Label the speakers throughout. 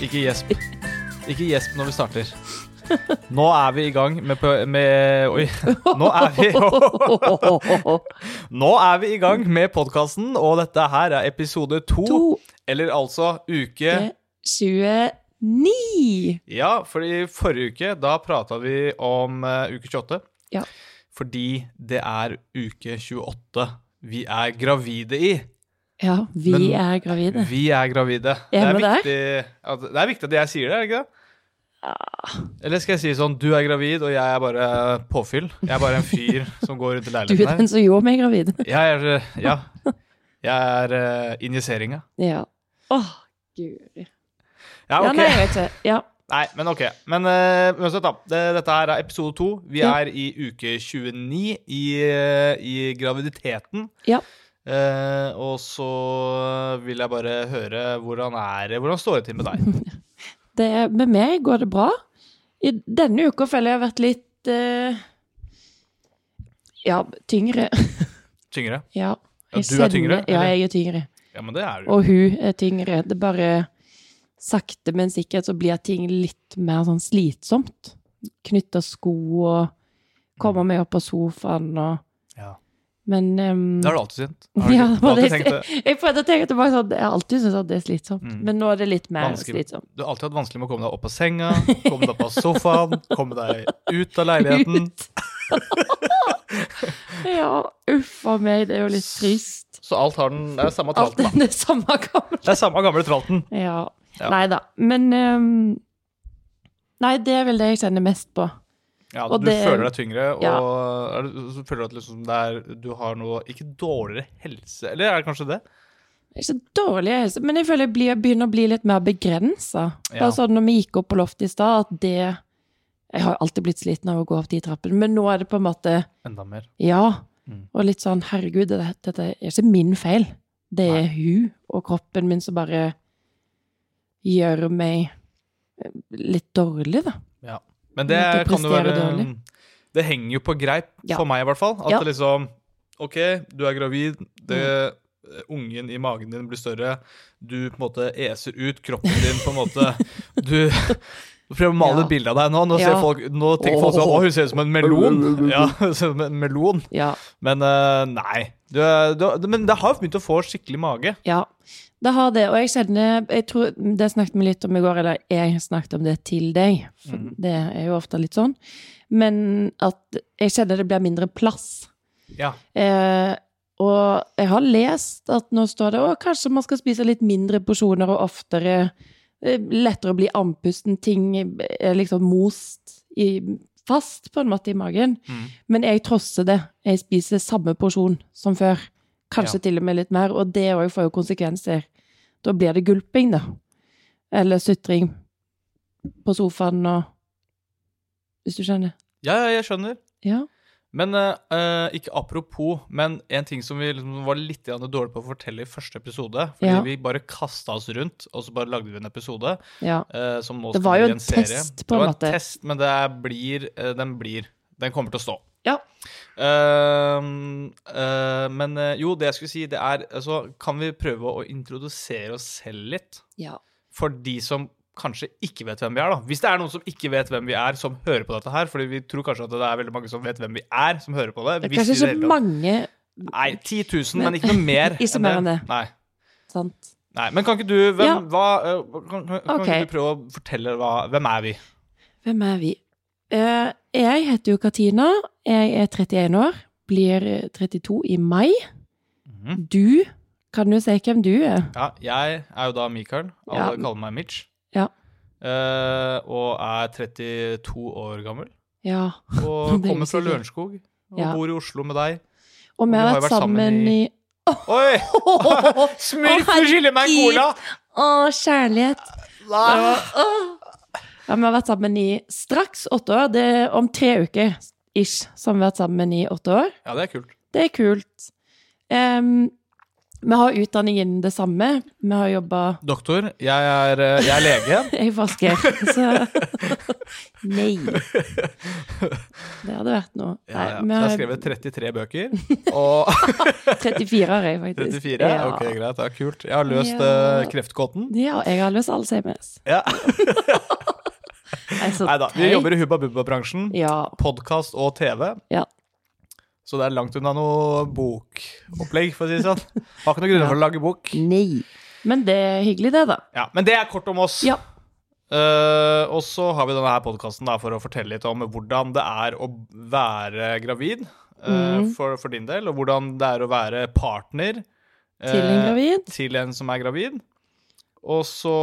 Speaker 1: Ikke gjesp. Ikke gjesp når vi starter. Nå er vi i gang med, på- med Oi. Nå er vi Nå er vi i gang med podkasten, og dette her er episode to.
Speaker 2: 2,
Speaker 1: Eller altså uke
Speaker 2: 29.
Speaker 1: Ja, fordi forrige uke da prata vi om eh, uke 28.
Speaker 2: Ja.
Speaker 1: Fordi det er uke 28 vi er gravide i.
Speaker 2: Ja, vi
Speaker 1: Men-
Speaker 2: er gravide.
Speaker 1: Vi er gravide. Det er,
Speaker 2: Hjemme der?
Speaker 1: viktig at, det er viktig at jeg sier det, er det ikke det?
Speaker 2: Ah.
Speaker 1: Eller skal jeg si sånn, du er gravid, og jeg er bare påfyll. Jeg er bare en fyr som går rundt i
Speaker 2: Du er
Speaker 1: leiligheten her.
Speaker 2: den som gjorde meg gravid.
Speaker 1: Jeg er, eh, ja, jeg er eh, injiseringa.
Speaker 2: Ja. Åh, guri.
Speaker 1: Ja,
Speaker 2: Ja,
Speaker 1: ok.
Speaker 2: nei, jeg vet ikke. Ja.
Speaker 1: Nei, men ok. Men eh, uansett, da. Det, dette her er episode to. Vi
Speaker 2: Ja.
Speaker 1: er i uke 29 i, eh, i graviditeten.
Speaker 2: Ja.
Speaker 1: Eh, og så vil jeg bare høre hvordan er det Hvordan står det til med deg?
Speaker 2: Det, med meg går det bra. I denne uka føler jeg har vært litt eh, Ja, tyngre.
Speaker 1: Tyngre?
Speaker 2: Ja.
Speaker 1: Ja,
Speaker 2: jeg
Speaker 1: du er
Speaker 2: kjenner-
Speaker 1: tyngre,
Speaker 2: Ja,
Speaker 1: eller?
Speaker 2: jeg er tyngre.
Speaker 1: Ja, men det er du.
Speaker 2: Og hun er tyngre. Det er bare sakte, men sikkert så blir ting litt mer sånn slitsomt. Knytte sko og komme meg opp av sofaen og
Speaker 1: Mm. Ja.
Speaker 2: Men ehm,
Speaker 1: Det har du alltid syntes. Har du ikke- du har
Speaker 2: Ja, det var
Speaker 1: alltid
Speaker 2: det jeg-
Speaker 1: tenkt det.
Speaker 2: jeg prøvde å tenke tilbake sånn Jeg har alltid syntes at det er slitsomt,
Speaker 1: Mm.
Speaker 2: men nå er det litt mer
Speaker 1: Vanskelig.
Speaker 2: slitsomt.
Speaker 1: Du har alltid hatt vanskelig med å komme deg opp av senga, komme deg opp av sofaen, komme deg ut av leiligheten.
Speaker 2: Ja, uff a meg, det er jo litt trist.
Speaker 1: Så alt har den Det er samme
Speaker 2: Alt
Speaker 1: tralten, da.
Speaker 2: er det samme gamle.
Speaker 1: Det er samme gamle tralten.
Speaker 2: Ja.
Speaker 1: Ja.
Speaker 2: Nei da. Men ehm, Nei, det er vel det jeg kjenner mest på.
Speaker 1: Ja,
Speaker 2: Og
Speaker 1: du
Speaker 2: det-
Speaker 1: føler deg tyngre, og
Speaker 2: Ja.
Speaker 1: er det- så føler du at liksom det er, du har noe Ikke dårligere helse, eller er det kanskje det?
Speaker 2: Det er ikke så dårlig helse, men jeg føler jeg blir, begynner å bli litt mer begrensa. Bare
Speaker 1: Ja.
Speaker 2: sånn når vi gikk opp på loftet i stad, at det Jeg har jo alltid blitt sliten av å gå opp de trappene, men nå er det på en måte
Speaker 1: Enda mer.
Speaker 2: Ja.
Speaker 1: Mm.
Speaker 2: Og litt sånn herregud, dette, dette er ikke min feil. Det er hun og kroppen min som bare gjør meg eh, litt dårlig, da.
Speaker 1: Men
Speaker 2: Men
Speaker 1: det
Speaker 2: at du
Speaker 1: kan jo
Speaker 2: presterer
Speaker 1: være mm,
Speaker 2: dårlig.
Speaker 1: Det henger jo på greip,
Speaker 2: Ja.
Speaker 1: for meg i hvert fall. At
Speaker 2: Ja.
Speaker 1: det liksom OK, du er gravid. det...
Speaker 2: Mm.
Speaker 1: Ungen i magen din blir større, du på en måte eser ut kroppen din på en måte Du du prøver å male
Speaker 2: Ja.
Speaker 1: et bilde av deg nå. Nå, ser
Speaker 2: Ja.
Speaker 1: folk, nå tenker folk sånn Å, hun ser ut som en melon! Ja, hun ser ut som en melon.
Speaker 2: Ja.
Speaker 1: Men eh, nei. Du, er- du, er- men det har jo begynt å få skikkelig mage.
Speaker 2: ja. Det har det. Og jeg kjenner jeg tror, Det snakket vi litt om i går, eller jeg snakket om det til deg. For
Speaker 1: Mhm.
Speaker 2: det er jo ofte litt sånn. Men at jeg kjenner det blir mindre plass.
Speaker 1: Ja.
Speaker 2: Eh, og jeg har lest at nå står det å, kanskje man skal spise litt mindre porsjoner og oftere. eh, Lettere å bli andpusten. Ting er liksom most i, fast, på en måte, i magen.
Speaker 1: Mm.
Speaker 2: Men jeg trosser det. Jeg spiser samme porsjon som før. Kanskje
Speaker 1: Ja.
Speaker 2: til og med litt mer. Og det òg får jo konsekvenser. Da blir det gulping, da. Eller sutring på sofaen og Hvis du skjønner?
Speaker 1: Ja, ja, jeg skjønner.
Speaker 2: Ja.
Speaker 1: Men eh, eh, ikke apropos, men en ting som vi liksom var litt grann dårlig på å fortelle i første episode Fordi
Speaker 2: Ja.
Speaker 1: vi bare kasta oss rundt, og så bare lagde vi en episode
Speaker 2: ja.
Speaker 1: eh, som nå
Speaker 2: Det
Speaker 1: skal
Speaker 2: var jo
Speaker 1: bli
Speaker 2: en
Speaker 1: en serie.
Speaker 2: test, på en
Speaker 1: Det var
Speaker 2: måte.
Speaker 1: en test, men det er, blir, eh, den blir. Den kommer til å stå.
Speaker 2: Ja.
Speaker 1: Eh, eh, men eh, jo, det jeg skulle si, det er altså, Kan vi prøve å introdusere oss selv litt?
Speaker 2: ja.
Speaker 1: for de som kanskje ikke vet hvem vi er, da. Hvis det er noen som ikke vet hvem vi er, som hører på dette her, fordi vi tror kanskje at det er veldig mange som vet hvem vi er, som hører på det.
Speaker 2: Det er
Speaker 1: hvis
Speaker 2: kanskje
Speaker 1: vi i det hele
Speaker 2: ikke
Speaker 1: tatt-
Speaker 2: mange
Speaker 1: Nei, 10 000, men ikke noe mer.
Speaker 2: Ikke mer enn det.
Speaker 1: Nei.
Speaker 2: Sant.
Speaker 1: Nei, men kan ikke du hvem,
Speaker 2: Ja.
Speaker 1: hva, øh, kan, kan, kan
Speaker 2: Ok.
Speaker 1: ikke du prøve å fortelle hva, Hvem er vi?
Speaker 2: Hvem er vi? Eh, jeg heter jo Katina. Jeg er 31 år. Blir 32 i mai.
Speaker 1: Mhm.
Speaker 2: Du kan jo si hvem du er.
Speaker 1: Ja, jeg er jo da Mikael. Alle
Speaker 2: Ja.
Speaker 1: kaller meg Mitch.
Speaker 2: Ja.
Speaker 1: Eh, og er 32 år gammel.
Speaker 2: Ja. Nå
Speaker 1: Og
Speaker 2: ble jeg
Speaker 1: kommer fra
Speaker 2: usikker.
Speaker 1: Lørenskog. Og
Speaker 2: Ja.
Speaker 1: bor i Oslo med deg.
Speaker 2: Og vi har vært sammen i
Speaker 1: Oi!
Speaker 2: Å,
Speaker 1: Smurf,
Speaker 2: Å,
Speaker 1: du skylder meg en
Speaker 2: herregud.
Speaker 1: cola! Ah.
Speaker 2: kjærlighet! Åh. Ja, vi har vært sammen i straks åtte år. Det er om tre uker ish som vi har vært sammen i åtte år.
Speaker 1: Ja, det er kult.
Speaker 2: Det er kult. Em, Vi har utdanning innen det samme. Vi har jobba
Speaker 1: Doktor, jeg er, eh, jeg er lege.
Speaker 2: Jeg forsker, så Nei. Det hadde vært noe.
Speaker 1: Ja, ja. Så
Speaker 2: Nei,
Speaker 1: jeg har
Speaker 2: vi
Speaker 1: skrevet 33 bøker. Og
Speaker 2: har 34 har jeg faktisk.
Speaker 1: 34?
Speaker 2: Ja.
Speaker 1: Ok, greit. Det er kult. Jeg har løst
Speaker 2: Ja.
Speaker 1: eh, kreftkåten.
Speaker 2: Ja, jeg har løst Alzheimers.
Speaker 1: Ja.
Speaker 2: Jeg er så
Speaker 1: Nei da. Vi
Speaker 2: teit.
Speaker 1: jobber i Hubba Bubba-bransjen.
Speaker 2: Ja.
Speaker 1: Podkast og TV.
Speaker 2: Ja.
Speaker 1: Så det er langt unna noe bokopplegg, for å si det sånn. Har ikke noen grunner for å lage bok.
Speaker 2: Nei. Men det er hyggelig, det, da.
Speaker 1: Ja, Men det er kort om oss.
Speaker 2: Ja.
Speaker 1: Eh, og så har vi denne her podkasten for å fortelle litt om hvordan det er å være gravid eh,
Speaker 2: Mm.
Speaker 1: for, for din del, og hvordan det er å være partner eh,
Speaker 2: Til en gravid.
Speaker 1: til en som er gravid. Og så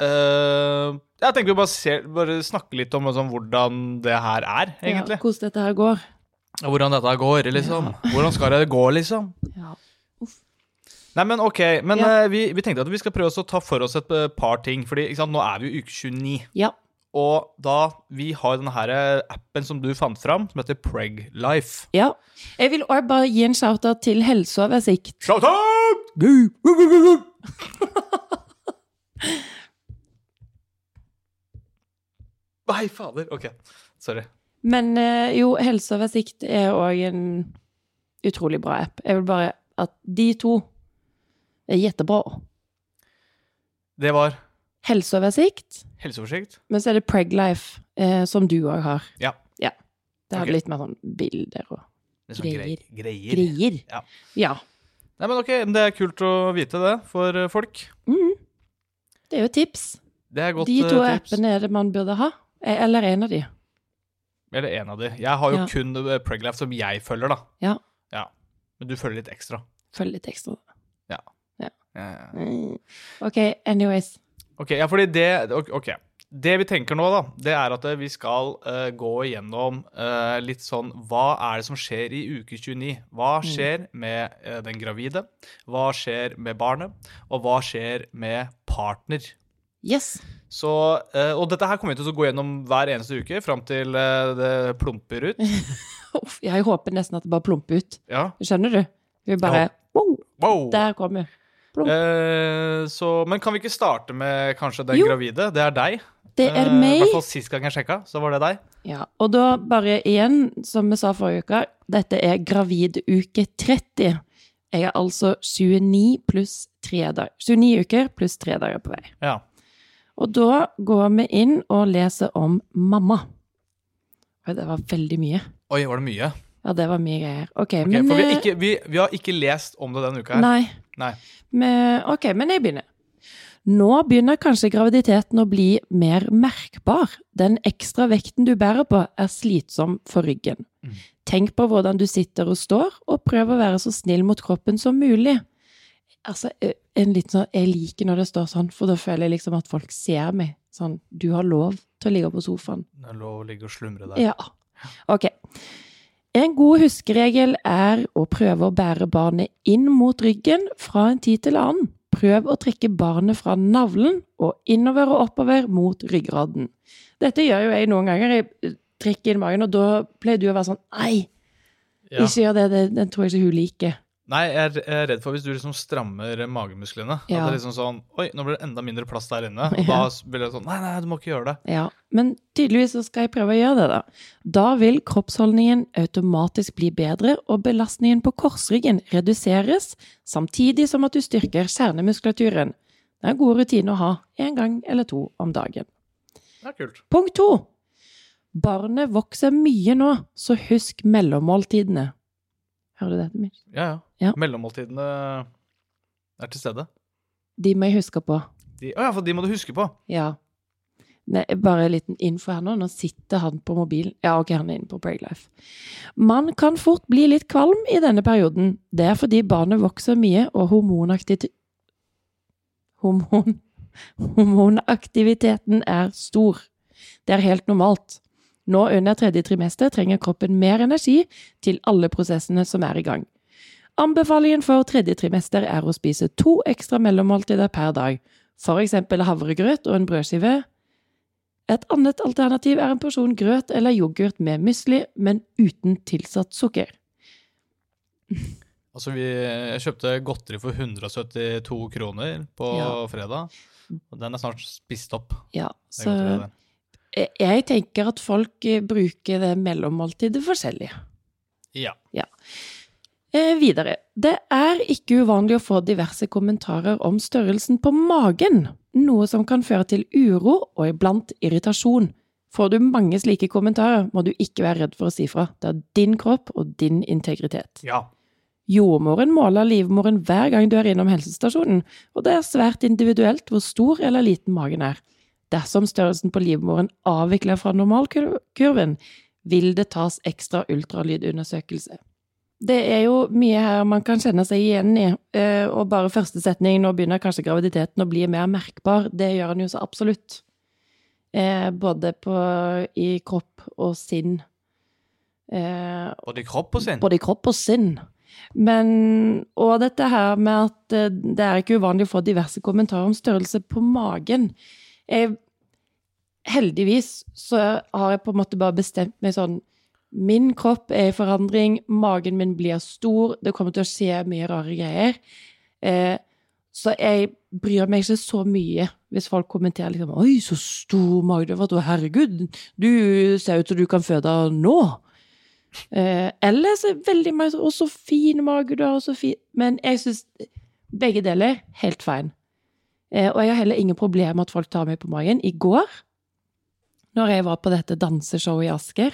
Speaker 1: eh, Jeg tenker vi bare, ser, bare snakker litt om liksom, hvordan det her er, egentlig.
Speaker 2: Ja, hvordan dette her går.
Speaker 1: Og hvordan dette går, liksom. Hvordan skal det gå, liksom?
Speaker 2: Ja.
Speaker 1: Nei, men ok. Men
Speaker 2: Ja.
Speaker 1: eh, vi, vi tenkte at vi skal prøve oss å ta for oss et eh, par ting. fordi ikke sant, nå er vi jo uke 29.
Speaker 2: ja.
Speaker 1: Og da vi har denne her eh, appen som du fant fram, som heter Preglife.
Speaker 2: ja. Jeg vil også bare gi en shout-out til Helseoversikt.
Speaker 1: Shoutout! Nei, fader. Ok. Sorry.
Speaker 2: Men eh, jo, Helseoversikt er òg en utrolig bra app. Jeg vil bare at de to er jettebra.
Speaker 1: Det var
Speaker 2: Helseoversikt,
Speaker 1: helseoversikt.
Speaker 2: men så er det Preglife, eh, som du òg har.
Speaker 1: Ja.
Speaker 2: Det har
Speaker 1: Ok.
Speaker 2: litt mer sånn bilder og
Speaker 1: Det er sånn grei- greier.
Speaker 2: greier.
Speaker 1: Ja.
Speaker 2: ja.
Speaker 1: Nei, men ok, men Det er kult å vite det for eh, folk.
Speaker 2: Mhm. Det er jo tips.
Speaker 1: Det er godt
Speaker 2: de to
Speaker 1: eh, tips.
Speaker 2: appene er det man burde ha. Eh, Eller en av de.
Speaker 1: Eller en av de. Jeg har jo
Speaker 2: Ja.
Speaker 1: kun eh, Preglife som jeg følger, da.
Speaker 2: Ja.
Speaker 1: Men du følger litt ekstra.
Speaker 2: Følg litt ekstra.
Speaker 1: Ja, ja.
Speaker 2: Mm. OK, anyways.
Speaker 1: Ok, ja, fordi det ok- Ok. Det vi tenker nå, da, det er at vi skal eh, gå igjennom eh, litt sånn Hva er det som skjer i uke 29? Hva
Speaker 2: Mm.
Speaker 1: skjer med eh, den gravide? Hva skjer med barnet? Og hva skjer med partner?
Speaker 2: Yes.
Speaker 1: Så, eh, og dette her kommer vi til å gå gjennom hver eneste uke fram til eh, det plumper ut.
Speaker 2: Uff, jeg håper nesten at det bare plumper ut.
Speaker 1: Ja.
Speaker 2: Skjønner du? Vi bare
Speaker 1: Ja.
Speaker 2: Wow!
Speaker 1: Wow!
Speaker 2: Der kom hun.
Speaker 1: Eh, så, men kan vi ikke starte med kanskje den
Speaker 2: Jo.
Speaker 1: gravide? Det er deg.
Speaker 2: Det er
Speaker 1: Eh, I
Speaker 2: meg.
Speaker 1: hvert fall sist gang jeg sjekka, så var det deg.
Speaker 2: Ja, og da bare igjen, som vi sa forrige uke, dette er gravid uke 30. Jeg er altså 29 pluss 3 dager. 29 uker pluss 3 dager på vei.
Speaker 1: Ja.
Speaker 2: Og da går vi inn og leser om mamma. Oi, det var veldig mye.
Speaker 1: Oi, var det mye?
Speaker 2: Ja, det var mye greier. Ok,
Speaker 1: Ok,
Speaker 2: men
Speaker 1: for vi, har
Speaker 2: eh,
Speaker 1: ikke, vi, vi har ikke lest om det denne uka her.
Speaker 2: Nei.
Speaker 1: Nei.
Speaker 2: Men, eh, ok, men jeg begynner. Nå begynner kanskje graviditeten å bli mer merkbar. Den ekstra vekten du bærer på, er slitsom for ryggen.
Speaker 1: Mm.
Speaker 2: Tenk på hvordan du sitter og står, og prøv å være så snill mot kroppen som mulig. Altså, eh, en liten sånn, Jeg liker når det står sånn, for da føler jeg liksom at folk ser meg. Sånn, du har lov til å ligge på sofaen.
Speaker 1: Det er lov å ligge og slumre der.
Speaker 2: Ja. Ok. En god huskeregel er å prøve å bære barnet inn mot ryggen fra en tid til annen. Prøv å trekke barnet fra navlen og innover og oppover mot ryggraden. Dette gjør jo jeg noen ganger. Jeg eh, trekker inn magen, og da pleier du å være sånn Nei,
Speaker 1: Ja.
Speaker 2: ikke gjør det. det. Den tror jeg ikke hun liker.
Speaker 1: Nei, jeg er, jeg er redd for hvis du liksom strammer magemusklene.
Speaker 2: Ja.
Speaker 1: At det er liksom sånn Oi, nå blir det enda mindre plass der inne.
Speaker 2: Ja.
Speaker 1: Og da blir det sånn Nei, nei, du må ikke gjøre det.
Speaker 2: Ja, men tydeligvis så skal jeg prøve å gjøre det, da. Da vil kroppsholdningen automatisk bli bedre, og belastningen på korsryggen reduseres, samtidig som at du styrker kjernemuskulaturen. Det er en god rutine å ha en gang eller to om dagen.
Speaker 1: Det er kult.
Speaker 2: Punkt to. Barnet vokser mye nå, så husk mellommåltidene. Hører du dette, Mitch?
Speaker 1: Ja, ja.
Speaker 2: Ja.
Speaker 1: Mellommåltidene er til stede.
Speaker 2: De må jeg huske på.
Speaker 1: De, å ja, for de må du huske på.
Speaker 2: Ja. Nei, bare en liten info her nå. Nå sitter han på mobilen. Ja, ok, han er inne på Preglife. Man kan fort bli litt kvalm i denne perioden. Det er fordi barnet vokser mye, og hormonaktivitet... Hormon... Hormonaktiviteten er stor. Det er helt normalt. Nå under tredje trimester trenger kroppen mer energi til alle prosessene som er i gang. Anbefalingen for tredje trimester er å spise to ekstra mellommåltider per dag. For eksempel havregrøt og en brødskive. Et annet alternativ er en porsjon grøt eller yoghurt med musli, men uten tilsatt sukker.
Speaker 1: Altså, vi, jeg kjøpte godteri for 172 kroner på
Speaker 2: Ja.
Speaker 1: fredag. Og den er snart spist opp. det
Speaker 2: Ja, så
Speaker 1: godteriet der.
Speaker 2: jeg, jeg tenker at folk eh, bruker det mellommåltidet forskjellig.
Speaker 1: Ja.
Speaker 2: Eh, videre. Det er ikke uvanlig å få diverse kommentarer om størrelsen på magen, noe som kan føre til uro og iblant irritasjon. Får du mange slike kommentarer, må du ikke være redd for å si fra. Det er din kropp og din integritet.
Speaker 1: ja.
Speaker 2: Jordmoren måler livmoren hver gang du er innom helsestasjonen, og det er svært individuelt hvor stor eller liten magen er. Dersom størrelsen på livmoren avvikler fra normalkurven, vil det tas ekstra ultralydundersøkelse. Det er jo mye her man kan kjenne seg igjen i, eh, og bare første setning, nå begynner kanskje graviditeten å bli mer merkbar, det gjør den jo så absolutt. Eh, Både på, i kropp og sinn. Eh,
Speaker 1: Både kropp og sinn.
Speaker 2: både i kropp og sinn. Men, og dette her med at eh, det er ikke uvanlig å få diverse kommentarer om størrelse på magen. Jeg, heldigvis så har jeg på en måte bare bestemt meg sånn Min kropp er i forandring, magen min blir stor, det kommer til å skje mye rare greier. Eh, så jeg bryr meg ikke så mye hvis folk kommenterer liksom Oi, så stor mage du har fått, og herregud, du ser ut som du kan føde nå. Eh, eller så er det veldig mye sånn, Å, så fin mage du har, og så fin Men jeg syns begge deler helt fine. Eh, og jeg har heller ingen problemer med at folk tar meg på magen. I går, når jeg var på dette danseshowet i Asker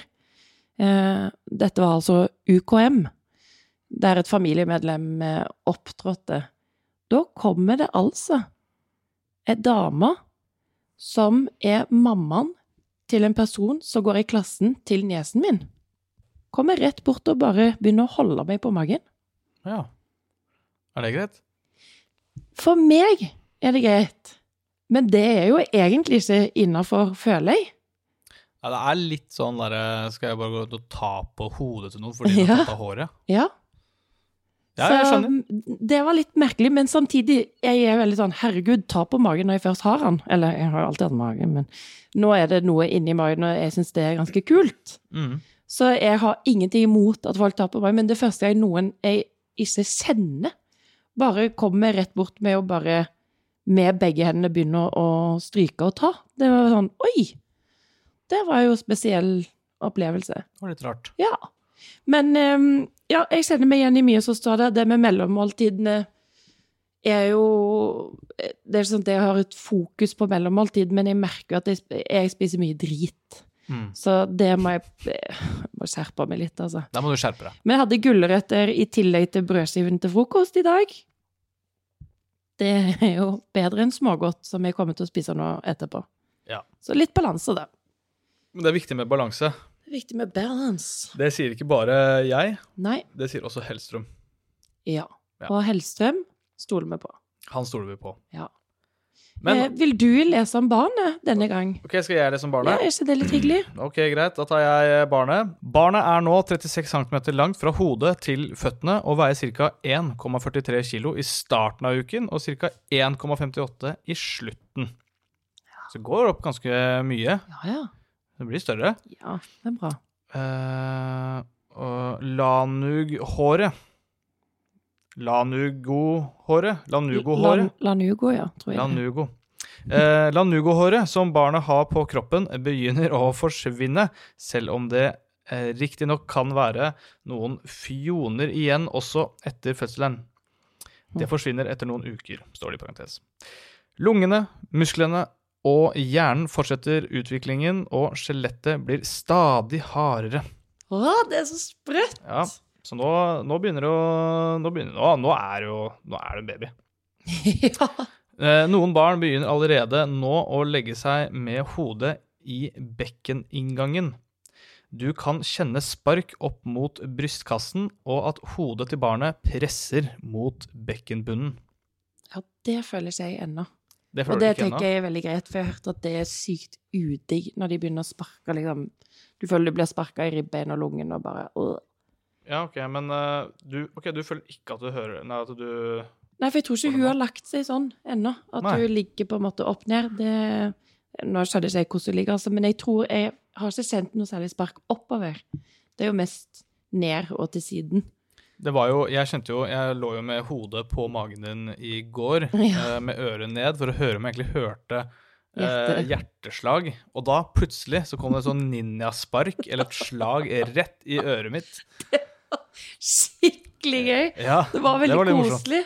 Speaker 2: eh, Dette var altså UKM, der et familiemedlem eh, opptrådte. Da kommer det altså ei dame som er mammaen til en person som går i klassen til niesen min kommer rett bort og bare begynner å holde meg på magen.
Speaker 1: Ja. Er det greit?
Speaker 2: For meg er det greit, men det er jo egentlig ikke innafor, føler jeg.
Speaker 1: Ja, det er litt sånn derre Skal jeg bare gå ut og ta på hodet til noen fordi de
Speaker 2: Ja.
Speaker 1: har tatt av håret?
Speaker 2: Ja.
Speaker 1: Ja, jeg skjønner.
Speaker 2: Så det var litt merkelig, men samtidig, jeg er veldig sånn herregud, ta på magen når jeg først har den. Eller jeg har jo alltid hatt mage, men nå er det noe inni magen, og jeg syns det er ganske kult.
Speaker 1: Mm.
Speaker 2: Så jeg har ingenting imot at folk tar på meg, men det første jeg noen jeg ikke kjenner, bare kommer rett bort med å bare med begge hendene begynne å å stryke og ta. Det var sånn Oi! Det var jo spesiell opplevelse.
Speaker 1: Det var litt rart.
Speaker 2: Ja. Men ehm, ja, jeg kjenner meg igjen i mye som står der. Det med mellommåltidene er jo Det er ikke sånn at jeg har et fokus på mellommåltid, men jeg merker jo at jeg, sp- jeg spiser mye drit.
Speaker 1: Mm.
Speaker 2: Så det må jeg, jeg må skjerpe meg litt, altså.
Speaker 1: Der må du skjerpe deg.
Speaker 2: Men jeg hadde gulrøtter i tillegg til brødskiven til frokost i dag. Det er jo bedre enn smågodt, som jeg kommer til å spise nå etterpå.
Speaker 1: Ja.
Speaker 2: Så litt balanse, da.
Speaker 1: Men det er viktig med balanse.
Speaker 2: Det er viktig med balance.
Speaker 1: Det sier ikke bare jeg,
Speaker 2: Nei.
Speaker 1: det sier også Hellstrøm.
Speaker 2: Ja.
Speaker 1: Ja.
Speaker 2: Og Hellstrøm stoler vi på.
Speaker 1: Han stoler vi på.
Speaker 2: Ja. eh,
Speaker 1: Men
Speaker 2: vil du lese om barnet denne gang?
Speaker 1: ok, skal jeg lese om
Speaker 2: Ja,
Speaker 1: barnet?
Speaker 2: er ikke det litt hyggelig?
Speaker 1: Ok, greit. Da tar jeg eh, barnet. Barnet er nå 36 cm langt fra hodet til føttene og veier ca. 1,43 kg i starten av uken og ca. 1,58 i slutten. Så det går opp ganske mye.
Speaker 2: Ja, ja.
Speaker 1: Det blir større.
Speaker 2: Ja, det er bra.
Speaker 1: Eh, og Lanug-håret. Lanugo-håret. Lanugo-håret.
Speaker 2: Lan- Lanugo, ja, tror jeg.
Speaker 1: Lanugo. Eh, Lanugo-håret som barnet har på kroppen, begynner å forsvinne, selv om det eh, riktignok kan være noen fjoner igjen også etter fødselen. Det forsvinner etter noen uker, står det i parentes. Lungene, musklene og hjernen fortsetter utviklingen, og skjelettet blir stadig hardere.
Speaker 2: Å, det er så sprøtt!
Speaker 1: Ja, så nå, nå begynner det å Nå, begynner, nå, nå er det jo Nå er det en baby.
Speaker 2: ja.
Speaker 1: Eh, Noen barn begynner allerede nå å legge seg med hodet i bekkeninngangen. Du kan kjenne spark opp mot brystkassen, og at hodet til barnet presser mot bekkenbunnen.
Speaker 2: ja, det føler ikke jeg ennå.
Speaker 1: Det
Speaker 2: Og
Speaker 1: føler
Speaker 2: det
Speaker 1: du ikke
Speaker 2: tenker
Speaker 1: ennå?
Speaker 2: jeg er veldig greit, for jeg har hørt at det er sykt udigg når de begynner å sparke, liksom. Du føler du blir sparka i ribbein og lungen og bare øh.
Speaker 1: Ja, OK, men eh, du, ok, du føler ikke at du hører Nei, at du
Speaker 2: Nei, for jeg tror ikke hun har lagt seg sånn ennå. At
Speaker 1: Nei.
Speaker 2: hun ligger på en måte opp ned. Det Nå skjønner ikke jeg hvordan hun ligger, altså, men jeg tror jeg har ikke kjent noe særlig spark oppover. Det er jo mest ned og til siden.
Speaker 1: Det var jo, jeg kjente jo, jeg lå jo med hodet på magen din i går,
Speaker 2: Ja.
Speaker 1: eh, med øret ned, for å høre om jeg egentlig hørte eh,
Speaker 2: Hjerte.
Speaker 1: hjerteslag. Og da plutselig så kom det et sånn ninjaspark, eller et slag, rett i øret mitt.
Speaker 2: Skikkelig gøy!
Speaker 1: Ja,
Speaker 2: Det var veldig
Speaker 1: litt morsomt.
Speaker 2: koselig.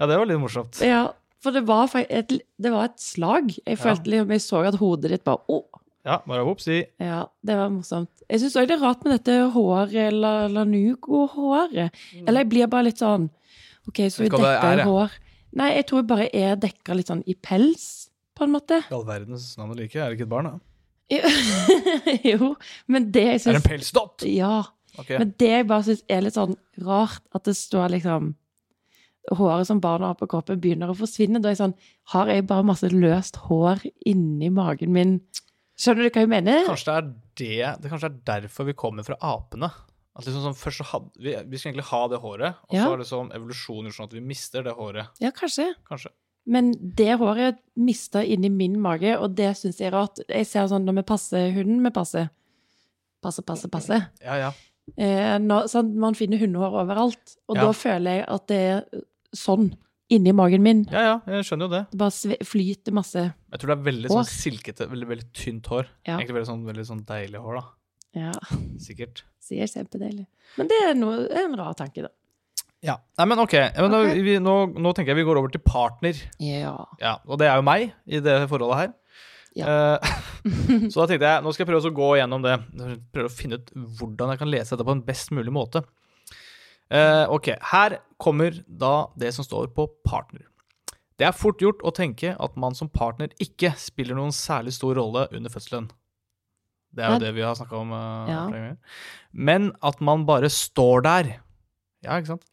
Speaker 1: Ja, det var litt morsomt.
Speaker 2: Ja, for det var, fa- et, det var et slag. Jeg
Speaker 1: Ja.
Speaker 2: følte liksom, jeg så at hodet ditt bare Å!
Speaker 1: Ja, bare vopsi.
Speaker 2: Ja, det var morsomt. Jeg syns òg det er rart med dette håret, la, lanugo-håret. Eller jeg blir bare litt sånn OK, så vi
Speaker 1: Vet ikke hva det er,
Speaker 2: dekker
Speaker 1: Mm. jeg.
Speaker 2: hår. Nei, jeg tror jeg bare er dekka litt sånn i pels, på en måte.
Speaker 1: I all verdens navn og like, er det ikke et barn, da?
Speaker 2: jo, men det jeg
Speaker 1: Er det
Speaker 2: syns
Speaker 1: en pelsdott?
Speaker 2: Ja.
Speaker 1: Ok,
Speaker 2: Men det jeg bare syns er litt sånn rart, at det står liksom Håret som barna har på kroppen, begynner å forsvinne. Da er jeg sånn Har jeg bare masse løst hår inni magen min? Skjønner du hva jeg mener?
Speaker 1: kanskje det er det, det kanskje er derfor vi kommer fra apene. At liksom sånn, først så hadde, vi, vi skal egentlig ha det håret, og
Speaker 2: Ja.
Speaker 1: så har liksom evolusjonen gjort sånn at vi mister det håret,
Speaker 2: Ja, kanskje.
Speaker 1: kanskje.
Speaker 2: Men det håret mista inni min mage, og det syns jeg er rart. Jeg ser sånn når vi passer hunden vi passer. Passe, passe, passe.
Speaker 1: Ja, ja.
Speaker 2: Eh, når, sånn, man finner hundehår overalt, og
Speaker 1: Ja.
Speaker 2: da føler jeg at det er sånn inni magen min.
Speaker 1: Ja, ja, jeg skjønner jo det.
Speaker 2: Det bare sve- flyter masse.
Speaker 1: Jeg tror det er veldig
Speaker 2: Hår.
Speaker 1: sånn silkete, veldig, veldig tynt hår.
Speaker 2: Ja.
Speaker 1: Egentlig veldig sånn, veldig sånn deilig hår, da.
Speaker 2: Ja.
Speaker 1: Sikkert.
Speaker 2: Sier kjempedeilig. Men det er noe, en rar tanke, da.
Speaker 1: Ja. Nei, men ok. Ja, Men
Speaker 2: Ok.
Speaker 1: Da, vi, nå, nå tenker jeg vi går over til partner.
Speaker 2: Ja.
Speaker 1: Ja, og det er jo meg i det forholdet her. Eh, så da tenkte jeg nå skal jeg prøve å gå gjennom det. Prøve å finne ut hvordan jeg kan lese dette på en best mulig måte. Eh, ok, Her kommer da det som står på partner. Det er fort gjort å tenke at man som partner ikke spiller noen særlig stor rolle under fødselen. Det er jo
Speaker 2: Ja.
Speaker 1: det vi har snakka om. eh,
Speaker 2: Ja.
Speaker 1: flere ganger. Men at man bare står der. Ja, ikke sant?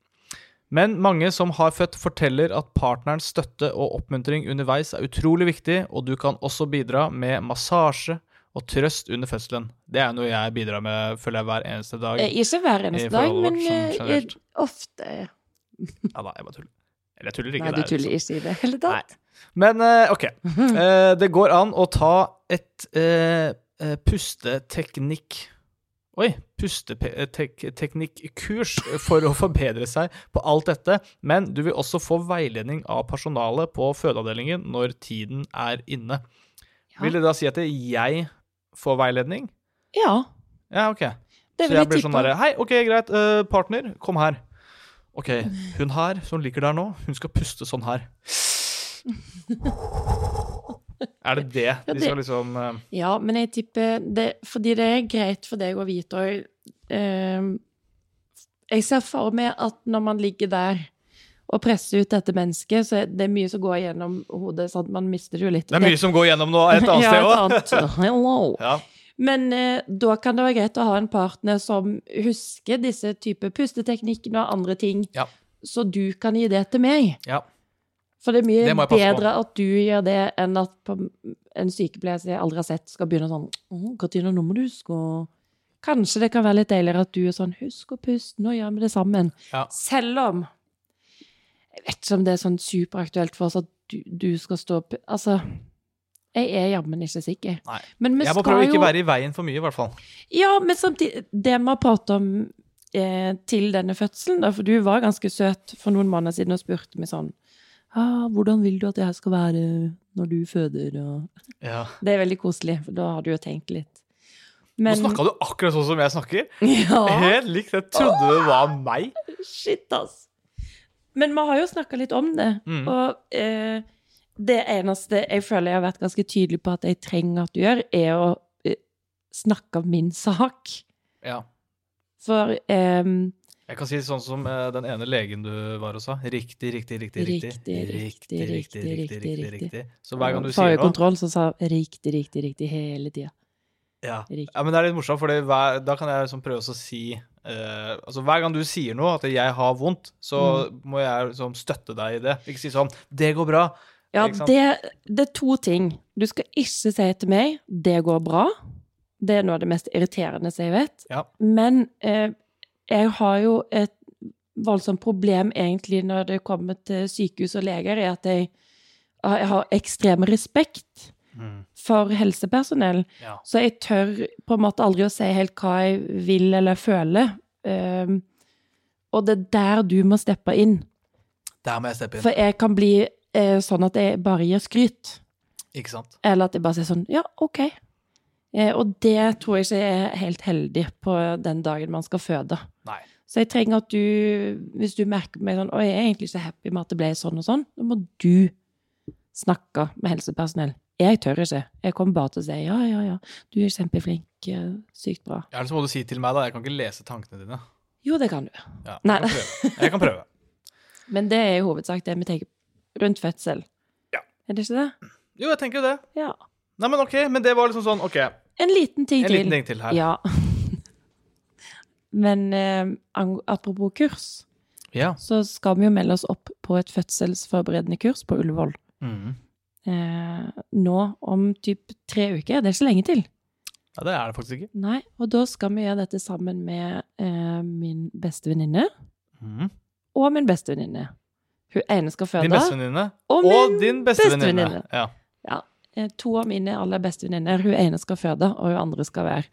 Speaker 1: Men mange som har født, forteller at partnerens støtte og oppmuntring underveis er utrolig viktig, og du kan også bidra med massasje og trøst under fødselen. Det er noe jeg bidrar med, føler jeg, hver eneste dag.
Speaker 2: Eh, Ikke hver
Speaker 1: I
Speaker 2: eneste dag,
Speaker 1: forholdet
Speaker 2: men
Speaker 1: vårt, sånn
Speaker 2: eh,
Speaker 1: generelt.
Speaker 2: ofte.
Speaker 1: Ja da, jeg bare tuller. Eller jeg tuller ikke.
Speaker 2: Nei, du
Speaker 1: det er
Speaker 2: tuller ikke i det hele tatt.
Speaker 1: Men eh, ok,
Speaker 2: Mm.
Speaker 1: Eh, det går an å ta et eh, eh, pusteteknikk Oi, pusteteknikkurs for å forbedre seg på alt dette, men du vil også få veiledning av personalet på fødeavdelingen når tiden er inne.
Speaker 2: Ja.
Speaker 1: Vil det da si at jeg får veiledning?
Speaker 2: Ja,
Speaker 1: Ja, ok.
Speaker 2: det
Speaker 1: Så jeg
Speaker 2: vil jeg
Speaker 1: blir
Speaker 2: tippe.
Speaker 1: sånn derre Hei, OK, greit. eh, partner, kom her. OK, hun her som ligger der nå, hun skal puste sånn her. Er det det
Speaker 2: Ja,
Speaker 1: de
Speaker 2: det-
Speaker 1: skal liksom eh,
Speaker 2: Ja, men jeg tipper det, Fordi det er greit for deg å vite òg Jeg ser for meg at når man ligger der og presser ut dette mennesket, så er det mye som går gjennom hodet, sånn at man mister det jo litt.
Speaker 1: Det er mye som går gjennom nå et annet sted
Speaker 2: Ja,
Speaker 1: òg.
Speaker 2: et annet. Hello.
Speaker 1: Ja,
Speaker 2: Men eh, da kan det være greit å ha en partner som husker disse typer pusteteknikkene og andre ting,
Speaker 1: Ja.
Speaker 2: så du kan gi det til meg.
Speaker 1: ja.
Speaker 2: For det er mye
Speaker 1: Det må jeg passe
Speaker 2: bedre at du gjør det, enn at på en sykepleier som jeg aldri har sett, skal begynne sånn «Åh, Katrine, nå må du huske å Kanskje det kan være litt deiligere at du er sånn Husk å puste, nå gjør vi det sammen.
Speaker 1: Ja.
Speaker 2: Selv om Jeg vet ikke om det er sånn superaktuelt for oss at du, du skal stå opp Altså, jeg er jammen ikke sikker.
Speaker 1: Nei.
Speaker 2: Men vi
Speaker 1: Jeg må
Speaker 2: skal
Speaker 1: prøve å ikke
Speaker 2: jo
Speaker 1: være i veien for mye, i hvert fall.
Speaker 2: ja, men samtidig Det vi har pratet om eh, til denne fødselen, da, for du var ganske søt for noen måneder siden og spurte meg sånn ah, 'Hvordan vil du at jeg skal være når du føder?' Og
Speaker 1: Ja.
Speaker 2: det er veldig koselig, for da har du jo tenkt litt.
Speaker 1: Nå snakka du akkurat sånn som jeg snakker.
Speaker 2: Ja,
Speaker 1: Helt likt. Jeg trodde det var meg.
Speaker 2: shit, ass. Men vi har jo snakka litt om det,
Speaker 1: Mm.
Speaker 2: og eh, det eneste jeg føler jeg har vært ganske tydelig på at jeg trenger at du gjør, er å eh, snakke om min sak.
Speaker 1: Ja.
Speaker 2: For ehm,
Speaker 1: Jeg kan si sånn som eh, den ene legen du var hos sa. Riktig, riktig, riktig, riktig.
Speaker 2: Riktig, riktig, riktig, riktig, riktig.
Speaker 1: Så hver gang du sier
Speaker 2: Forrige
Speaker 1: noe
Speaker 2: kontroll så sa riktig, riktig, riktig hele tida.
Speaker 1: ja.
Speaker 2: Riktig.
Speaker 1: Ja, men det er litt morsomt, for da kan jeg liksom prøve å si eh, altså Hver gang du sier noe, at jeg har vondt, så må jeg liksom støtte deg i det. Ikke si sånn 'Det går bra'.
Speaker 2: Ja,
Speaker 1: Ikke sant?
Speaker 2: det, det er to ting. Du skal ikke si til meg 'det går bra'. Det er noe av det mest irriterende som jeg vet.
Speaker 1: Ja.
Speaker 2: Men eh, jeg har jo et voldsomt problem egentlig når det kommer til sykehus og leger, er at jeg, jeg har ekstrem respekt for helsepersonell.
Speaker 1: Mm. Ja.
Speaker 2: Så jeg tør på en måte aldri å si helt hva jeg vil eller føler. Ehm, Og det er der du må steppe inn.
Speaker 1: Der må jeg steppe inn.
Speaker 2: For jeg kan bli eh, sånn at jeg bare gir skryt.
Speaker 1: Ikke sant?
Speaker 2: Eller at jeg bare sier sånn Ja, OK. Eh, og det tror jeg ikke er helt heldig på den dagen man skal føde.
Speaker 1: Nei.
Speaker 2: Så jeg trenger at du, hvis du merker meg sånn Oi, jeg er egentlig ikke happy med at det ble sånn og sånn, da må du snakke med helsepersonell. Jeg tør ikke. Jeg kommer bare til å si ja, ja, ja, du er kjempeflink, eh, sykt bra.
Speaker 1: Ja, Eller så må du si til meg, da. Jeg kan ikke lese tankene dine.
Speaker 2: Jo, det kan du.
Speaker 1: Ja,
Speaker 2: Nei.
Speaker 1: Jeg kan prøve. Jeg kan prøve.
Speaker 2: Men det er i hovedsak det vi tenker rundt fødsel.
Speaker 1: Ja.
Speaker 2: Er det ikke det?
Speaker 1: Jo, jeg tenker jo det.
Speaker 2: Ja.
Speaker 1: Nei, men OK. Men det var liksom sånn OK, en
Speaker 2: En liten ting til.
Speaker 1: liten ting til her.
Speaker 2: Ja. Men eh, ang- apropos kurs,
Speaker 1: Ja.
Speaker 2: så skal vi jo melde oss opp på et fødselsforberedende kurs på Ullevål.
Speaker 1: Mhm.
Speaker 2: Eh, nå om typ tre uker. Det er ikke lenge til.
Speaker 1: ja. Det er det faktisk ikke.
Speaker 2: Nei, og da skal vi gjøre dette sammen med eh, min beste venninne
Speaker 1: Mhm.
Speaker 2: og min beste venninne. Hun ene skal føde.
Speaker 1: Din bestevenninne
Speaker 2: og min
Speaker 1: og din bestevenninne.
Speaker 2: bestevenninne.
Speaker 1: Ja.
Speaker 2: eh, to av mine aller beste venninner. Hun ene skal føde, og hun andre skal være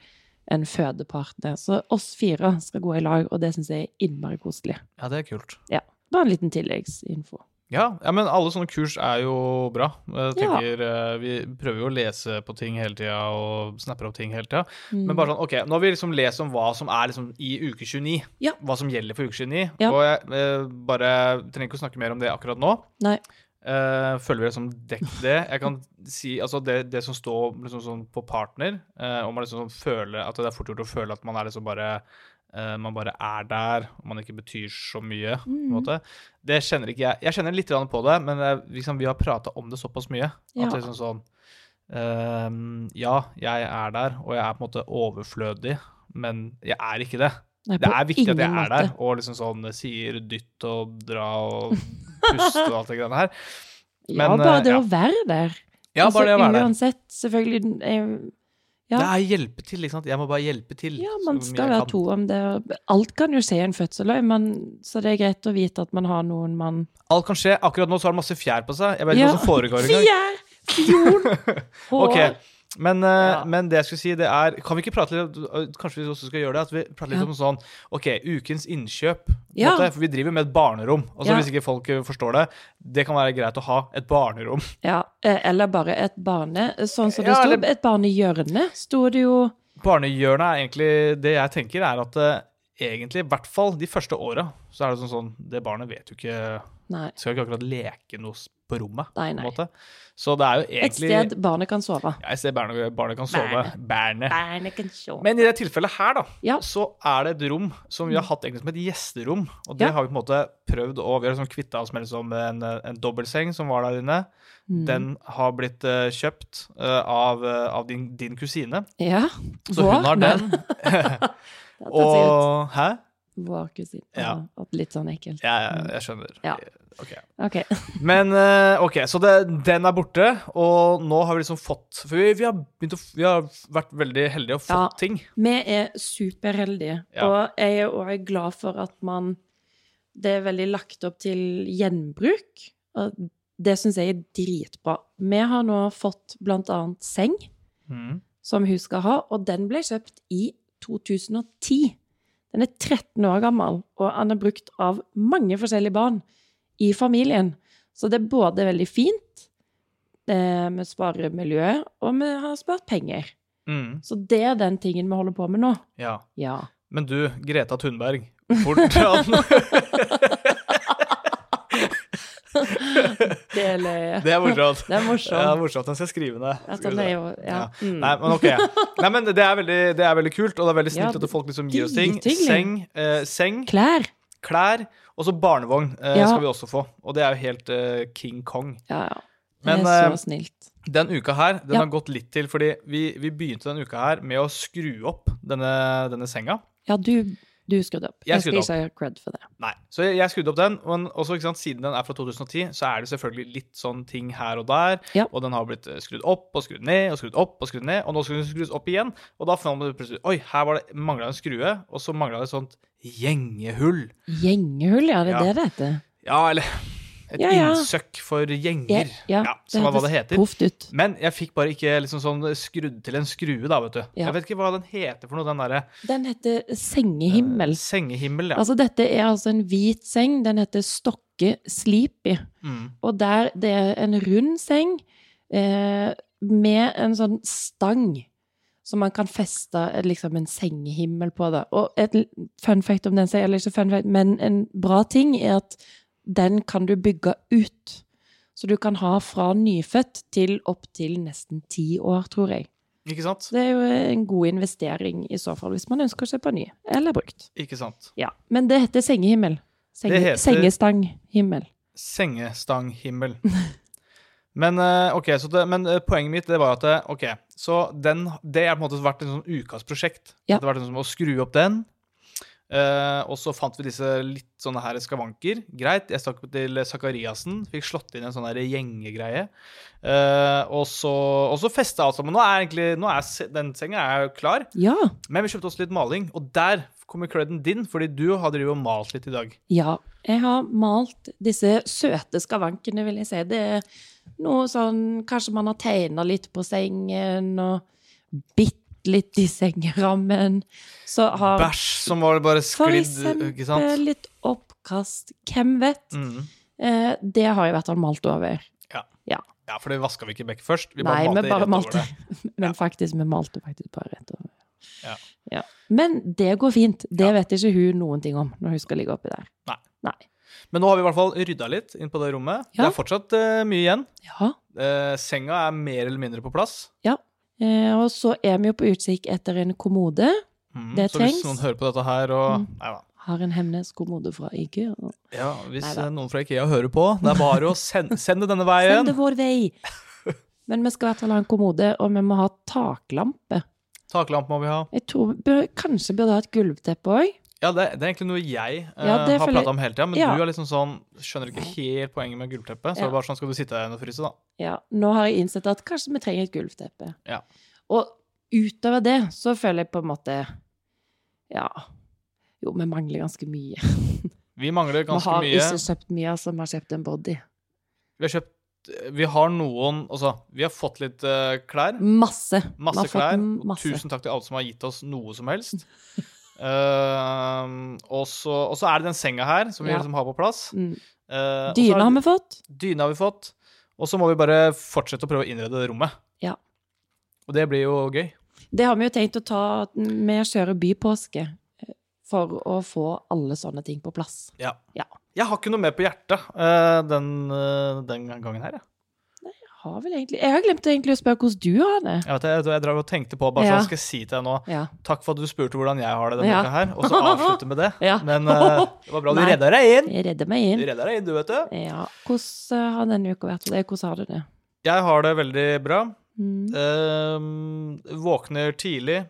Speaker 2: en fødepartner. Så oss fire skal gå i lag, og det syns jeg er innmari koselig.
Speaker 1: ja, det er kult.
Speaker 2: Bare en liten tilleggsinfo.
Speaker 1: Ja, ja, men alle sånne kurs er jo bra. Jeg
Speaker 2: Ja.
Speaker 1: tenker, eh, Vi prøver jo å lese på ting hele tida og snapper opp ting hele tida.
Speaker 2: Mm.
Speaker 1: Men bare sånn, ok, nå har vi liksom lest om hva som er liksom i uke 29.
Speaker 2: Ja.
Speaker 1: Hva som gjelder for uke 29.
Speaker 2: Ja.
Speaker 1: Og jeg eh, bare trenger ikke å snakke mer om det akkurat nå.
Speaker 2: Nei.
Speaker 1: Eh, føler vi liksom dekket det. Jeg kan si, altså Det, det som står liksom sånn på partner, eh, om man liksom sånn føler at det er fort gjort å føle at man er liksom bare eh, man bare er der, og man ikke betyr så mye. på en
Speaker 2: Mm.
Speaker 1: måte. Det kjenner ikke jeg. Jeg kjenner litt grann på det, men eh, liksom, vi har prata om det såpass mye.
Speaker 2: Ja.
Speaker 1: At liksom sånn ehm, Ja, jeg er der, og jeg er på en måte overflødig, men jeg er ikke det.
Speaker 2: Nei,
Speaker 1: Det
Speaker 2: på
Speaker 1: er viktig at jeg
Speaker 2: ingen
Speaker 1: er
Speaker 2: måte.
Speaker 1: der, og liksom sånn eh, sier dytt og dra og puste og alt det greiene her.
Speaker 2: ja,
Speaker 1: men, eh,
Speaker 2: bare det
Speaker 1: ja.
Speaker 2: å være der. Altså,
Speaker 1: Ja, bare det å være der.
Speaker 2: Uansett, selvfølgelig eh, ja.
Speaker 1: Det er hjelpe til, ikke sant. Jeg må bare hjelpe til.
Speaker 2: Ja,
Speaker 1: så
Speaker 2: man
Speaker 1: mye
Speaker 2: skal
Speaker 1: jeg
Speaker 2: være
Speaker 1: kan.
Speaker 2: to om det. og Alt kan jo skje i en fødsel, og man- så det er greit å vite at man har noen man
Speaker 1: Alt kan skje. Akkurat nå så har han masse fjær på seg. Jeg vet ikke
Speaker 2: Ja.
Speaker 1: hva som foregår engang.
Speaker 2: Fjær! Fjord! Hår!
Speaker 1: Ok, men, eh,
Speaker 2: Ja.
Speaker 1: men det jeg skulle si, det er Kan vi ikke prate litt øh, Kanskje vi også skal gjøre det? At vi prater litt
Speaker 2: Ja.
Speaker 1: om sånn Ok, ukens innkjøp. på en
Speaker 2: Ja.
Speaker 1: Måte, for vi driver med et barnerom. Og så
Speaker 2: Ja.
Speaker 1: hvis ikke folk øh, forstår det, det kan være greit å ha et barnerom.
Speaker 2: Ja, eh, eller bare et barne... Sånn som det
Speaker 1: Ja,
Speaker 2: sto,
Speaker 1: eller-
Speaker 2: et barnehjørne sto det jo
Speaker 1: Barnehjørnet er egentlig Det jeg tenker, er at eh, egentlig, i hvert fall de første åra, så er det sånn sånn Det barnet vet jo ikke
Speaker 2: Nei.
Speaker 1: Skal ikke akkurat leke noe s- på rommet, på
Speaker 2: Nei,
Speaker 1: en
Speaker 2: nei.
Speaker 1: måte. Så det er jo
Speaker 2: Et
Speaker 1: egentlig
Speaker 2: sted barnet kan sove.
Speaker 1: Ja, Jeg ser barnet, barnet kan sove.
Speaker 2: Barnet.
Speaker 1: Barnet.
Speaker 2: Barnet kan sove.
Speaker 1: Men i det tilfellet her, da,
Speaker 2: Ja. Mm.
Speaker 1: så er det et rom som vi har hatt egentlig som et gjesterom. Og det
Speaker 2: Ja.
Speaker 1: har vi på en måte prøvd å Vi har liksom kvitta oss med liksom en, en dobbeltseng som var der inne.
Speaker 2: Mm.
Speaker 1: Den har blitt eh, kjøpt eh, av, eh, av din, din kusine,
Speaker 2: Ja.
Speaker 1: så
Speaker 2: Vår-
Speaker 1: hun har
Speaker 2: Nei,
Speaker 1: den.
Speaker 2: det er sikkert
Speaker 1: Og Hæ?
Speaker 2: Vår kusin. Ja.
Speaker 1: Ja.
Speaker 2: at Litt sånn ekkelt.
Speaker 1: Ja, jeg, jeg skjønner.
Speaker 2: Ja.
Speaker 1: Ok.
Speaker 2: Ok.
Speaker 1: Men eh, OK, så det, den er borte, og nå har vi liksom fått For vi, vi, har, begynt å, f- vi har vært veldig heldige og fått
Speaker 2: Ja.
Speaker 1: ting.
Speaker 2: Vi er superheldige,
Speaker 1: Ja.
Speaker 2: og jeg er òg glad for at man Det er veldig lagt opp til gjenbruk, og det syns jeg er dritbra. Vi har nå fått blant annet seng,
Speaker 1: Mm.
Speaker 2: som hun skal ha, og den ble kjøpt i 2010. Den er 13 år gammel, og den er brukt av mange forskjellige barn i familien. Så det er både veldig fint, eh, vi sparer miljøet, og vi har spart penger.
Speaker 1: Mm.
Speaker 2: Så det er den tingen vi holder på med nå.
Speaker 1: Ja.
Speaker 2: Ja.
Speaker 1: Men du, Greta Thunberg, fortan
Speaker 2: Det er løye.
Speaker 1: Det er morsomt.
Speaker 2: Det er morsomt.
Speaker 1: Ja, det er morsomt. Den skal jeg skrive ned.
Speaker 2: At
Speaker 1: Skal vi
Speaker 2: han
Speaker 1: se.
Speaker 2: er jo Ja.
Speaker 1: Ja.
Speaker 2: Mm.
Speaker 1: Nei, men ok. Nei, men det er veldig, det er veldig kult, og det er veldig
Speaker 2: Ja,
Speaker 1: snilt at folk liksom gir oss ting.
Speaker 2: drithyggelig.
Speaker 1: Seng, eh, seng
Speaker 2: Klær.
Speaker 1: klær, og så barnevogn eh,
Speaker 2: Ja.
Speaker 1: skal vi også få. Og det er jo helt eh, King Kong.
Speaker 2: Ja, ja.
Speaker 1: Men,
Speaker 2: det er
Speaker 1: eh,
Speaker 2: så snilt.
Speaker 1: Den uka her, den
Speaker 2: Ja.
Speaker 1: har gått litt til, fordi vi, vi begynte den uka her med å skru opp denne, denne senga.
Speaker 2: Ja, du, du skrudde opp.
Speaker 1: Jeg
Speaker 2: Jeg, skal
Speaker 1: skrudde
Speaker 2: ikke ha cred for det.
Speaker 1: Nei. Så jeg, jeg skrudde opp den. Men også, ikke sant, siden den er fra 2010, så er det selvfølgelig litt sånn ting her og der.
Speaker 2: Ja.
Speaker 1: Og den har blitt eh, skrudd opp og skrudd ned og skrudd opp og skrudd ned. Og nå skal den skrus opp igjen. Og da fant man plutselig Oi, her var det, mangla en skrue, og så mangla det et sånt gjengehull.
Speaker 2: Gjengehull, ja, det er
Speaker 1: Ja.
Speaker 2: det det heter.
Speaker 1: Ja, eller Et
Speaker 2: Ja, ja.
Speaker 1: innsøkk for gjenger.
Speaker 2: Ja,
Speaker 1: som er hva det
Speaker 2: hørtes
Speaker 1: heter.
Speaker 2: Proft ut.
Speaker 1: Men jeg fikk bare ikke liksom sånn skrudd til en skrue, da, vet du.
Speaker 2: Ja.
Speaker 1: Jeg vet ikke hva den heter for noe, den derre
Speaker 2: Den heter
Speaker 1: eh,
Speaker 2: sengehimmel.
Speaker 1: Sengehimmel, Eh, ja.
Speaker 2: Altså, dette er altså en hvit seng. Den heter Stokke Sleepy.
Speaker 1: mm.
Speaker 2: Og der det er en rund seng eh, med en sånn stang som man kan feste eh, liksom en sengehimmel på. Da. Og et l- fun fact om den sengen, eller ikke fun fact, men en bra ting er at den kan du bygge ut. Så du kan ha fra nyfødt til opptil nesten ti år, tror jeg.
Speaker 1: Ikke sant?
Speaker 2: Så det er jo en god investering i så fall, hvis man ønsker å kjøpe ny eller brukt.
Speaker 1: Ikke sant.
Speaker 2: Ja, Men det heter sengehimmel. Senge,
Speaker 1: Det heter-
Speaker 2: Sengestanghimmel.
Speaker 1: Sengestanghimmel. Men, eh, ok, så det, men eh, poenget mitt det var at eh, OK, så den, det har på en måte vært en sånn ukas prosjekt.
Speaker 2: Ja.
Speaker 1: Det har vært en sånn å skru opp den. Eh, og så fant vi disse litt sånne her skavanker. Greit, jeg stakk til Sakariassen. Fikk slått inn en sånn her gjengegreie. Eh, og så, og så festa alt sammen. Nå er egentlig nå er, se- den senga er jo klar.
Speaker 2: Ja.
Speaker 1: Men vi kjøpte oss litt maling, og der kommer creden din, fordi du har drevet og malt litt i dag.
Speaker 2: Ja, jeg har malt disse søte skavankene, vil jeg si. Det er noe sånn Kanskje man har tegna litt på sengen, og bitt litt i sengerammen. Så har
Speaker 1: Bæsj som var bare
Speaker 2: for
Speaker 1: sklidd, ikke
Speaker 2: eksempel
Speaker 1: sant?
Speaker 2: litt oppkast. Hvem vet?
Speaker 1: Mm.
Speaker 2: Eh, det har jeg i hvert fall malt over.
Speaker 1: Ja, for det vaska vi ikke vekk først. Vi
Speaker 2: Nei,
Speaker 1: bare malte
Speaker 2: vi bare
Speaker 1: rett over
Speaker 2: malte.
Speaker 1: det.
Speaker 2: Men faktisk, vi malte faktisk bare rett over.
Speaker 1: Ja.
Speaker 2: Ja. Men det går fint. Det
Speaker 1: Ja.
Speaker 2: vet ikke hun noen ting om når hun skal ligge oppi der.
Speaker 1: Nei. Men nå har vi i hvert fall rydda litt inn på det rommet.
Speaker 2: Ja.
Speaker 1: Det er fortsatt eh, mye igjen.
Speaker 2: Ja.
Speaker 1: Eh, senga er mer eller mindre på plass.
Speaker 2: Eh, og så er vi jo på utkikk etter en kommode.
Speaker 1: Mm,
Speaker 2: Det
Speaker 1: så
Speaker 2: trengs. Mm.
Speaker 1: hvis noen hører på dette her og Nei da.
Speaker 2: Har en Hemnes-kommode fra IKEA.
Speaker 1: Ja, hvis
Speaker 2: Neida.
Speaker 1: eh, noen fra Ikea hører på, det er bare å sende, sende denne veien.
Speaker 2: Send det vår vei! Men vi skal i hvert fall ha en kommode, og vi må ha taklampe.
Speaker 1: Taklampe må vi ha.
Speaker 2: Jeg tror vi bør, Kanskje burde ha et gulvteppe òg.
Speaker 1: Ja, det, det er egentlig noe jeg eh,
Speaker 2: Ja, det
Speaker 1: har
Speaker 2: føler-
Speaker 1: prata om hele tida, men
Speaker 2: Ja.
Speaker 1: du er liksom sånn Skjønner ikke helt poenget med gulvteppet. Så
Speaker 2: Ja.
Speaker 1: er det bare sånn skal du sitte der inne og fryse, da.
Speaker 2: Ja, nå har jeg innsett at kanskje vi trenger et gulvteppe.
Speaker 1: Ja.
Speaker 2: Og utover det så føler jeg på en måte Ja. Jo, vi mangler ganske mye.
Speaker 1: Vi mangler
Speaker 2: vi
Speaker 1: ganske
Speaker 2: har
Speaker 1: mye.
Speaker 2: ikke kjøpt mye, altså. Vi har kjøpt en body.
Speaker 1: Vi har kjøpt eh, Vi har noen Altså, vi har fått litt eh, klær.
Speaker 2: Masse. Mm. Vi har
Speaker 1: Masse
Speaker 2: fått
Speaker 1: klær. og
Speaker 2: masse.
Speaker 1: Tusen takk til alle som har gitt oss noe som helst. Ehm, og, så, og så er det den senga her, som vi
Speaker 2: Ja.
Speaker 1: liksom har på plass.
Speaker 2: Mm.
Speaker 1: Eh, og så er
Speaker 2: Dyna har
Speaker 1: det-
Speaker 2: vi fått.
Speaker 1: dyne har vi fått. Og så må vi bare fortsette å prøve å innrede det rommet.
Speaker 2: Ja.
Speaker 1: Og det blir jo gøy.
Speaker 2: Det har vi jo tenkt å ta med å kjøre bypåske eh, for å få alle sånne ting på plass.
Speaker 1: Ja.
Speaker 2: Ja.
Speaker 1: Jeg har ikke noe mer på hjertet eh, den, eh, den gangen her, jeg.
Speaker 2: Jeg har vel egentlig Jeg har glemt egentlig å spørre hvordan du har det.
Speaker 1: Jeg, vet, det, jeg, jeg drev og tenkte på bare
Speaker 2: Ja.
Speaker 1: sånn, skal jeg si til deg nå
Speaker 2: Ja.
Speaker 1: Takk for at du spurte hvordan jeg har det denne
Speaker 2: Ja.
Speaker 1: uka her, og så avslutte med det.
Speaker 2: Ja.
Speaker 1: Men eh, det var bra du
Speaker 2: Nei.
Speaker 1: redda deg inn.
Speaker 2: Jeg redder meg
Speaker 1: Du
Speaker 2: inn.
Speaker 1: redda deg inn, du, vet du.
Speaker 2: Ja. Hvordan eh, har denne uka vært for deg? Hvordan har du det?
Speaker 1: Jeg har det veldig bra.
Speaker 2: Mm.
Speaker 1: Ehm, våkner tidlig.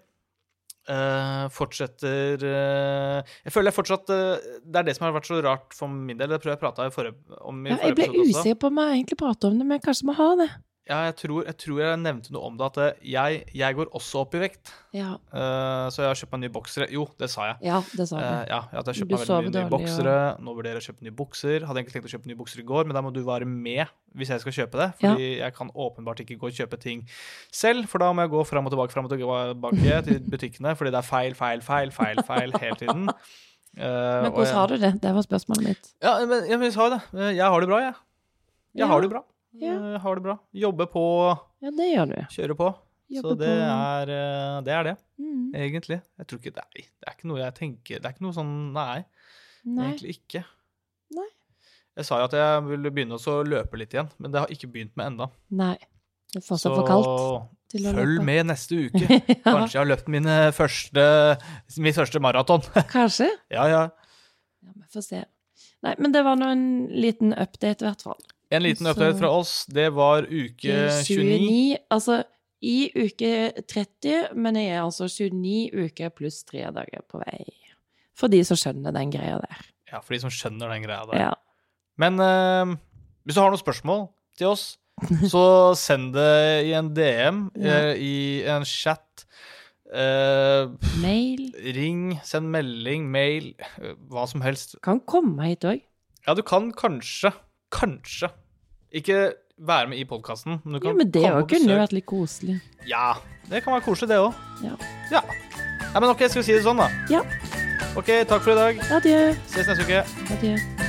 Speaker 1: Eh, fortsetter eh, Jeg føler jeg fortsatt eh, Det er det som har vært så rart for min del. Det tror jeg prata om i
Speaker 2: Ja, jeg
Speaker 1: forrige
Speaker 2: ble
Speaker 1: episode også.
Speaker 2: usikker på om jeg egentlig prater om det, men kanskje vi har det.
Speaker 1: Ja, jeg, tror, jeg tror jeg nevnte noe om det, at eh, jeg, jeg går også opp i vekt.
Speaker 2: Ja,
Speaker 1: Eh, så jeg har kjøpt meg nye boksere. Jo, det sa jeg.
Speaker 2: ja det sa
Speaker 1: Eh,
Speaker 2: du.
Speaker 1: ja, at jeg
Speaker 2: Du
Speaker 1: kjøpte meg
Speaker 2: sover
Speaker 1: veldig mye nye
Speaker 2: dårlig,
Speaker 1: boksere. Nå vurderer jeg å kjøpe nye bukser. Hadde egentlig tenkt å kjøpe nye bukser i går, men da må du være med hvis jeg skal kjøpe det. Fordi jeg kan åpenbart ikke gå og kjøpe ting selv, for da må jeg gå fram og tilbake, fram og tilbake til butikkene, fordi det er feil, feil, feil, feil, feil hele tiden. Eh,
Speaker 2: Men hvordan har du det? Det var spørsmålet mitt.
Speaker 1: Ja, men ja, men jeg sa jo det. Eh, Jeg har det bra, jeg. Jeg
Speaker 2: Ja.
Speaker 1: har det bra. Eh,
Speaker 2: Ja.
Speaker 1: Jeg har det bra. Jobber på,
Speaker 2: Ja, det gjør du.
Speaker 1: kjører på.
Speaker 2: Jobber
Speaker 1: så det
Speaker 2: på-
Speaker 1: er, eh, det er det,
Speaker 2: Mm.
Speaker 1: egentlig. Jeg tror ikke, Nei, det er ikke noe jeg tenker Det er ikke noe sånn Nei.
Speaker 2: Nei.
Speaker 1: Egentlig ikke.
Speaker 2: Nei.
Speaker 1: Jeg sa jo at jeg ville begynne også å løpe litt igjen, men det har ikke begynt med enda.
Speaker 2: Nei. Det er fortsatt for kaldt til å
Speaker 1: følg
Speaker 2: løpe.
Speaker 1: med neste uke. Kanskje jeg har løpt mine første, mitt første maraton.
Speaker 2: Ja, kanskje.
Speaker 1: Ja, ja.
Speaker 2: Ja, vi får se. Nei, men det var nå en liten update, i hvert fall.
Speaker 1: En liten
Speaker 2: Så-
Speaker 1: update fra oss. Det var uke 29.
Speaker 2: Altså i uke 30, men jeg er altså 29 uker pluss tre dager på vei. For de som skjønner den greia der.
Speaker 1: Ja, for de som skjønner den greia der.
Speaker 2: Ja.
Speaker 1: Men eh, hvis du har noen spørsmål til oss, så send det i en DM,
Speaker 2: Ja.
Speaker 1: eh, i en chat. eh,
Speaker 2: Mail
Speaker 1: ring, send melding, mail, eh, hva som helst.
Speaker 2: kan komme hit òg.
Speaker 1: Ja, du kan kanskje kanskje ikke være med i podkasten, men du
Speaker 2: Ja,
Speaker 1: kan
Speaker 2: men det
Speaker 1: komme
Speaker 2: òg
Speaker 1: på
Speaker 2: kunne jo
Speaker 1: besøk.
Speaker 2: vært litt koselig.
Speaker 1: Ja, det kan være koselig, det òg.
Speaker 2: Ja.
Speaker 1: Ja. Nei, men OK, skal vi si det sånn, da?
Speaker 2: Ja.
Speaker 1: OK, takk for i dag.
Speaker 2: Adjø.
Speaker 1: Ses neste uke.
Speaker 2: Adjø.